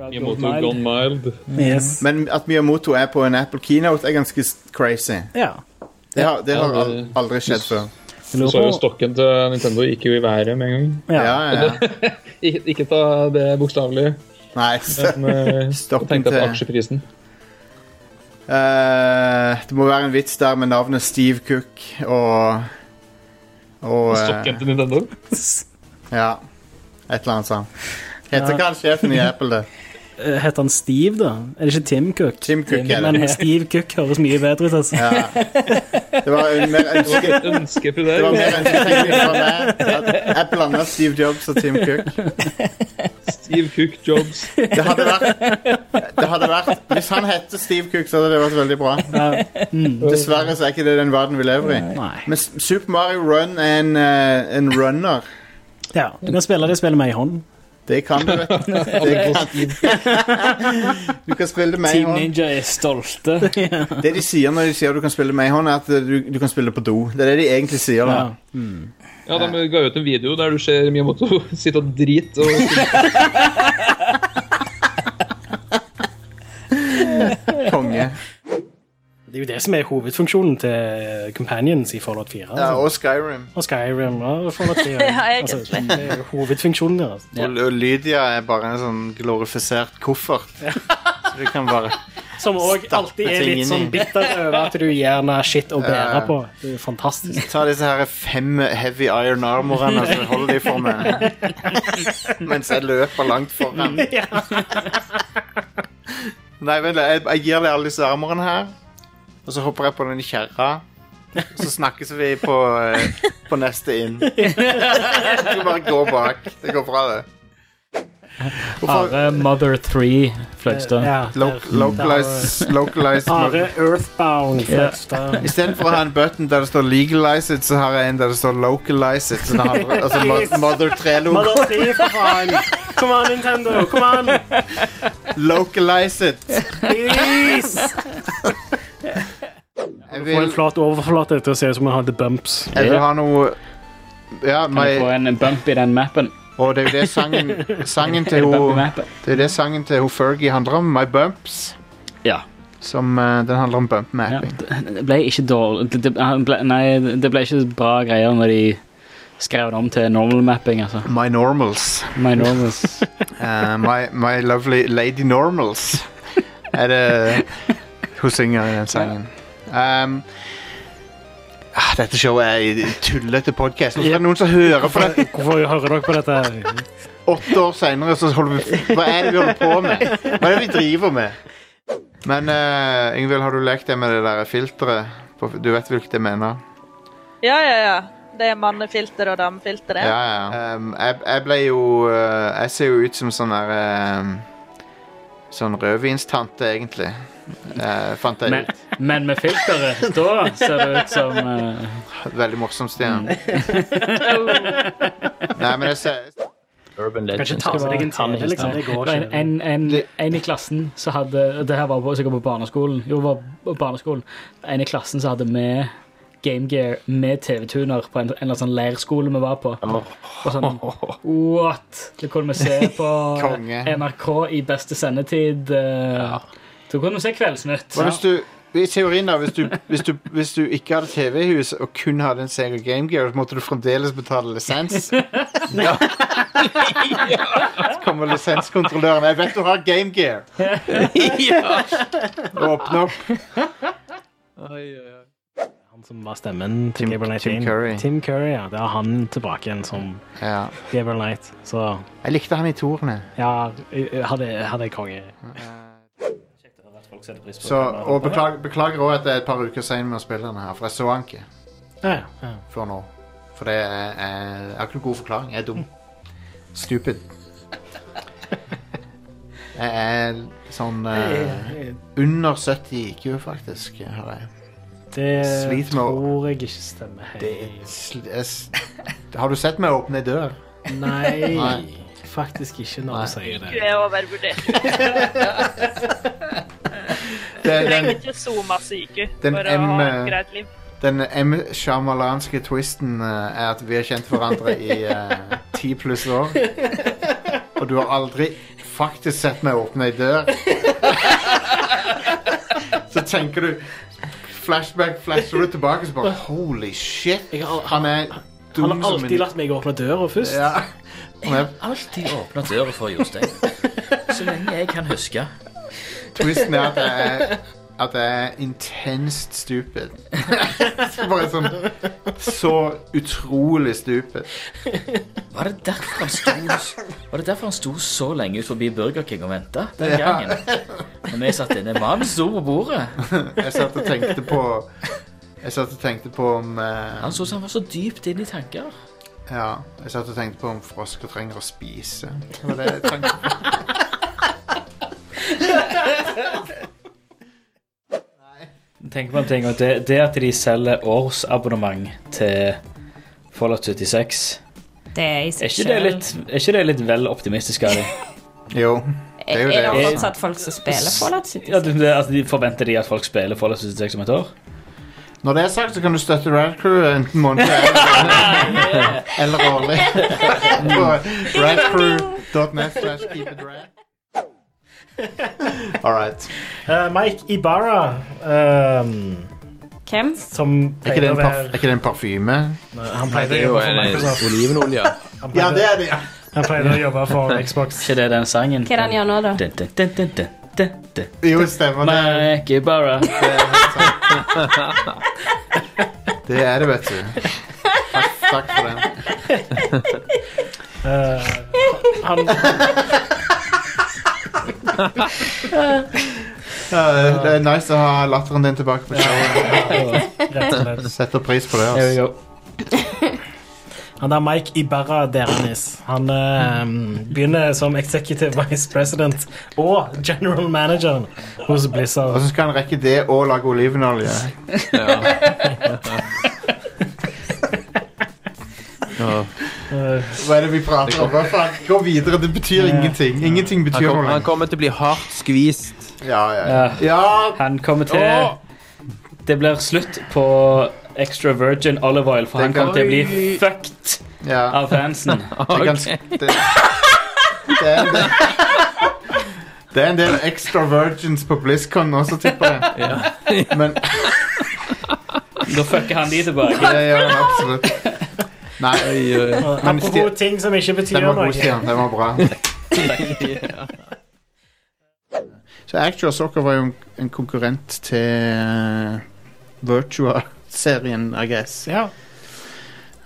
Miyamoto Gone Mild. Yes. Men at Miyamoto er på en Apple Keynote, er ganske s- crazy. Ja. Det har, det har Ja, al det- aldri skjedd før. Jeg Du så jo lurer på stokken til Nintendo gikk jo i været med en gang. Ja, ja. ja. ja. Ik ikke ta det bokstavelig. Nei. men, eh, Stokken tenk deg på til- aksjeprisen. Eh, det må være en vits der med navnet Steve Cook og Og eh, Stokken til Nintendo. Ja. Et eller annet sånt. Heter Ja. kanskje sjefen i Apple det? Eh, Heter han Steve, da? Er det ikke Tim Cook? Tim Cook er det. Men Steve Cook høres mye bedre ut, altså. Ja. Det var en mer ønske... Ønsker eh, du Det var det? mer ønsketenkning fra meg. at Jeg blanda Steve Jobs og Tim Cook. Steve Cook Jobs. Det hadde vært, det hadde vært Hvis han hette Steve Cook, så hadde det vært veldig bra. Ja. Dessverre så er ikke det den verden vi lever i. Nei. Men S- Super Mario Run er en, eh, en runner. Ja, du kan spille det spillet med ei hånd. Det kan du, vet du. Det kan. Du kan spille det med ei Team hånd. Ninja er stolte. Det de sier når de sier du kan spille med ei hånd, er at eh, du, du kan spille på do. Det er det de egentlig sier. Ja. da Ja, de ga ut en video der du ser Miyamoto sitte og drite og Konge. Det er jo det som er hovedfunksjonen til eh, Companions i Fallout 4. Ja, Altså. og Skyrim. Og Skyrim og Fallout 4. Ja, Altså, egentlig. det er jo hovedfunksjonen deres. Og, og Lydia er bare en sånn glorifisert koffert. Så du kan bare Som òg Stappe alltid er ting inn litt i. sånn bitter over at du gir henne shit å bære Ja. på. Det er jo fantastisk. Ta disse her fem heavy iron armorene, så holder de for meg. Mens jeg løper langt foran. Nei, vent litt. Jeg, jeg gir deg alle disse armorene her, og så hopper jeg på den kjerra. Så snakkes vi på, eh, på neste inn. Du bare gå bak. Det går bra, det. Hvorfor Are Mother 3 Fløgstad. Ja, lo localize, localize Are Earthbound. Ja. Fløgstad. Istedenfor å ha en button der det står 'legalize it', så har jeg en der det står 'localize it'. Så det handler, altså Mo- Mother 3-logo. Mother 3, for faen! Kom an, Nintendo! Kom an! Localize it. Please! Jeg Få en vil, flat overflate til å se ut som om han hadde bumps. jeg vil ha noe Ja, Kan jeg få my, en en bump i den mappen? og det er jo det sangen, sangen Er det til bump i ho, mappen? Det er det sangen til ho Fergie handler om. My Bumps. Ja. Som, eh, den handler om bump Ja, mapping. det det ble ikke dårlig det, det, han ble, Nei, det ble ikke bra greier når de skrev det om til normal mapping, altså. My normals. My normals. Eh, my, my lovely lady normals Er det Hun synger i den sangen um, ah, Dette showet er i- i tullete podcast Nå skal noen som hører på det Hvorfor hører dere på dette? her? Åtte år senere så holder vi Hva er det vi holder på med? Hva er det vi driver med? Men uh, Yngvild, har du lekt deg med det der filteret? På- Du vet hvilket jeg mener Ja, ja, ja. Det er mannefilter og damefilter. det. Ja, ja. Um, jeg, jeg ble jo uh, Jeg ser jo ut som sånn der um, Sånn rødvinstante, egentlig. Uh, fant jeg men, men med filteret, da ser det ut som eh, ut. Veldig morsomt, Stian. Oh. Nei, men jeg ser Urban Kan ikke Legends. ta med deg en Kan ikke tale, liksom. Det går Det var en, ikke. en, en, Det- en i klassen som hadde Det her var på, sikkert på barneskolen. Jo, det var på barneskolen. En i klassen som hadde med Game Gear med TV-tuner på en, en eller annen sånn leirskole vi var på. Og sånn, what? Det kunne vi se på Konge. NRK i beste sendetid. eh, Så kunne vi se Kveldsnytt. Hva hvis du i teorien da, hvis du, hvis, du, hvis du ikke hadde TV i huset og kun hadde en Sega Game Gear, så måtte du fremdeles betale lisens. Ja. Så kommer lisenskontrolløren. Jeg vet du har Game Gear. Åpne opp. Han som var stemmen til Tim- Gabriel Knight. Tim Tim Curry. Tim Curry, ja. Det er han tilbake igjen som Ja. Gabriel Knight. Så Jeg likte han i torene. ja, hadde, hadde jeg konge. Så, og beklager, beklager også at det er et par uker sen med å spille denne her, for jeg så han ikke Ja, ja. før nå. For det er, er- jeg har ikke noen god forklaring. Jeg er dum. Stupid. Jeg er sånn eh, under 70 IQ, faktisk. Har jeg. Det Slit med å- tror jeg ikke stemmer helt. Det er sl- jeg s- Har du sett meg åpne ei dør? Nei, Nei. faktisk ikke når du sier Du det. er overvurdert. Du Det er trenger den, ikke så masse IQ Den for å ha M, eh, et greit liv. den M. sjamalanske twisten eh, er eh, at vi har kjent hverandre i ti pluss år. Og du har aldri faktisk sett meg åpne ei dør. så tenker du Flashback, flasher du tilbake, så bare Holy shit! Jeg har- Han er Han dum har som en alltid latt meg åpne døra først. ja. Han er, Alltid åpne døra for Jostein. Så lenge jeg kan huske. Twisten er at jeg er at jeg er intenst stupid. Så bare sånn Så utrolig stupid. Var det derfor han sto, var det derfor han sto så lenge ut forbi Burger King og venta den Ja. gangen? Når vi satt inne. Mannen sto på bordet. Jeg satt og tenkte på Jeg satt og tenkte på om eh, Han så ut som han var så dypt inne i tanker. Ja, jeg satt og tenkte på om frosker trenger å spise. Det var det jeg tenkte på. Tenk på en ting, og det, det at de selger årsabonnement til Fallout 76 Det er i Er seg ikke det selv- litt, er ikke det litt vel optimistisk av dem? Jo. Det er Er jo det det. fortsatt folk som spiller Fallout 76? Ja, det- det- altså, de forventer de at folk spiller Fallout 76 om et år? Når det er sagt, så kan du støtte Rad Crew enten månedlig eller- eller årlig. På radcrew.net slash keep it rad. All right. Eh, Mike Ibarra, ehm, Hvem? som Er ikke det pleier å en, parf er være ikke det en parfyme? Han pleide å jobbe for Microsoft. olivenolje. Han pleide, er det, ja. han pleide å jobbe for Xbox. Ikke det den sangen? Hva er det han gjør nå, da? Dun, dun, dun, dun, dun, dun, dun. Jo, stemmer det. Mike Ibarra. Det er det, vet du. Takk, takk for den. Eh, Han, Ja, det er nice å ha latteren din tilbake på showet. rett og slett. Setter pris på det. There we Altså. go. Han der Mike Ibarra Deranis Han eh, begynner som executive vice president og general manager hos Og Blizzard. så skal han rekke det og lage olivenolje. Ja. Eh, Hva er det vi prater om? Hva faen? Gå videre, det betyr ingenting. Ingenting Han, betyr kom, noe han lenger. kommer til å bli hardt skvist. Ja, ja, ja. Ja. ja. Han kommer til Åh! Det blir slutt på Extra Virgin Olive Oil, for Det han kommer til å bli kan- fucked ja. av fansen. Det, er ganske, det, det, er en del, det er en del extra virgins på BlizzCon også, tipper jeg. Men Da fucker han de tilbake. det gjør han absolutt. Nei, men Apropos ting som ikke betyr Den var god, noe. Stian. Den var bra. Så Actual Soccer var jo en, en konkurrent til eh, Virtua-serien, I guess. Ja.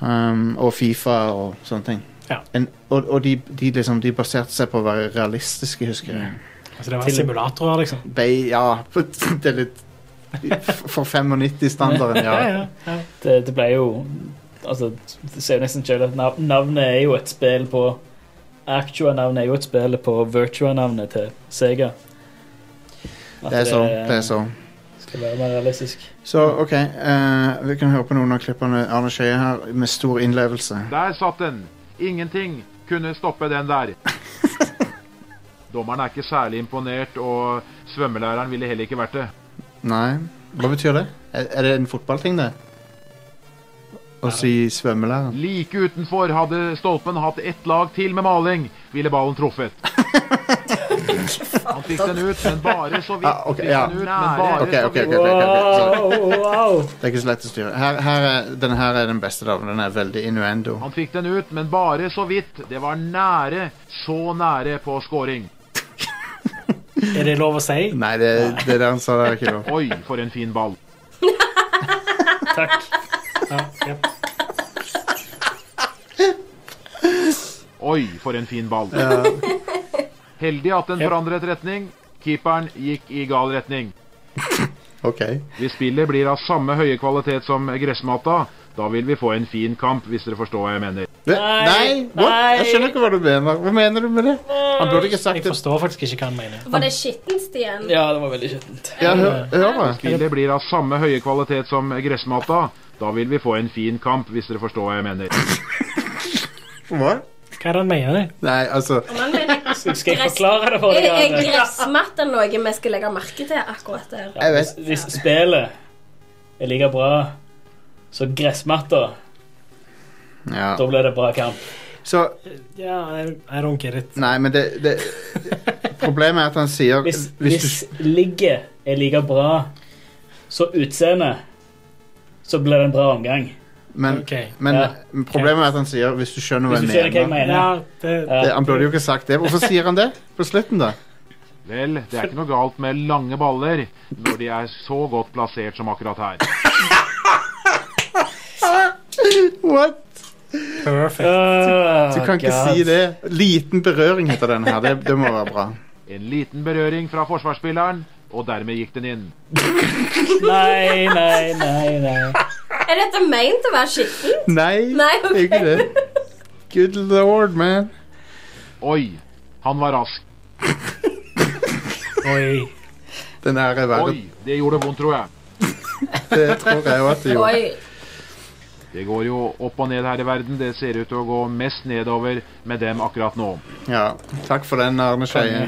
Um, og Fifa og sånne ting. Ja. En, og og de, de, liksom, de baserte seg på å være realistiske, husker jeg. Altså, det var simulatorer, liksom. Bay, ja, det er litt For 95-standarden, Ja, ja. ja, ja. Det, det ble jo Altså, det ser jo nesten selv at nav navnet er jo et spill på Actua-navnet er jo et spill på Virtua-navnet til Sega. At Det er sånn. Det er sånn. skal være mer realistisk. Så OK, eh, vi kan høre på noen av klippene Arne Skeie her med stor innlevelse. Der satt den. Ingenting kunne stoppe den der. Dommeren er ikke særlig imponert, og svømmelæreren ville heller ikke vært det. Nei. Hva betyr det? Er, er det en fotballting, det? Å si svømmelærer? Like utenfor hadde stolpen hatt ett lag til med maling, ville ballen truffet. Han fikk den ut, men bare så vidt. Ah, ok, ja. Fikk den ut, men bare Ok, så ok, ok, ok, vidt. ok, ok. Sorry. Wow, wow. Det er ikke så lett å styre. Her, her er, denne her er den beste, da. Den er veldig innuendo. Han fikk den ut, men bare så vidt. Det var nære, så nære på scoring. Er det lov å si? Nei, det, det der han sa, det er ikke lov. Oi, for en fin ball. Ja, ja. Oi, for en fin ball. Heldig at den forandret retning. Keeperen gikk i gal retning. OK. Hvis spillet blir av samme høye kvalitet som gressmatta, da vil vi få en fin kamp, hvis dere forstår hva jeg mener. Nei, nei, what? Jeg skjønner ikke hva du mener. Hva mener du med det? Han burde ikke sagt Jeg det. forstår faktisk ikke hva han mener. Var det skittent igjen? Ja, det var veldig skittent. Ja, hør, hør da. Spillet blir av samme høye kvalitet som gressmatta, da vil vi få en fin kamp, hvis dere forstår hva jeg mener. Hva? Hva er det han mener? Nei, altså Man mener Skal jeg forklare det for Er, deg? er Arne? gressmatta noe vi skal legge merke til akkurat der? Jeg vet. Hvis spillet er like bra som gressmatta, Ja. da blir det bra kamp. Så Ja, I, I don't get it. Nei, men det, det Problemet er at han sier Hvis, hvis du hvis ligget er like bra som utseendet, så blir det en bra omgang. Men, men Ja. men problemet er at han sier 'hvis du skjønner hva Hvis jeg du skjønner hva jeg mener'. mener. Ja. Det, han burde jo ikke sagt det. Hvorfor sier han det på slutten, da? Vel, det er ikke noe galt med lange baller når de er så godt plassert som akkurat her. What? Perfect. Ah, Ah, Du kan ikke si det. Liten berøring heter den her. Det, det må være bra. En liten berøring fra forsvarsspilleren, og dermed gikk den inn. Nei, nei, nei, nei. Er dette meint å være skitten? Nei, Nei, ok. det er ikke det. Good lord, man. Oi, han var rask. Oi. Den her er verre. Oi, det gjorde vondt, tror jeg. Det tror jeg også at det gjorde. Det går jo opp og ned her i verden. Det ser ut til å gå mest nedover med dem akkurat nå. Ja, takk for den, Arne Skeie.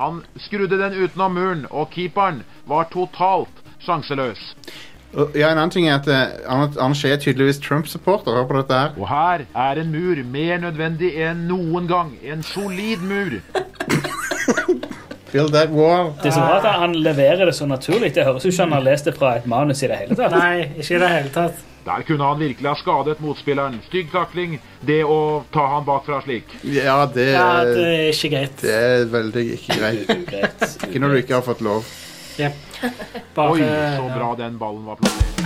Han skrudde den utenom muren, og keeperen var totalt sjanseløs. Og- Ja, en annen ting er at eh, Arne Arne Skeie er tydeligvis Trump-supporter. Hør på dette her. Og her er en mur mer nødvendig enn noen gang. En solid mur. Build that wall. Det er så bra at han leverer det så naturlig. Det høres ut som han har lest det fra et manus i det hele tatt. Nei, ikke i det hele tatt. Der kunne han virkelig ha skadet motspilleren. Stygg takling. Det å ta han bakfra slik. Ja, det, Ja, det er ikke greit. det er veldig ikke greit. Ikke når du ikke har fått lov. Yep. Altså, Oi, så bra den ballen var plassert.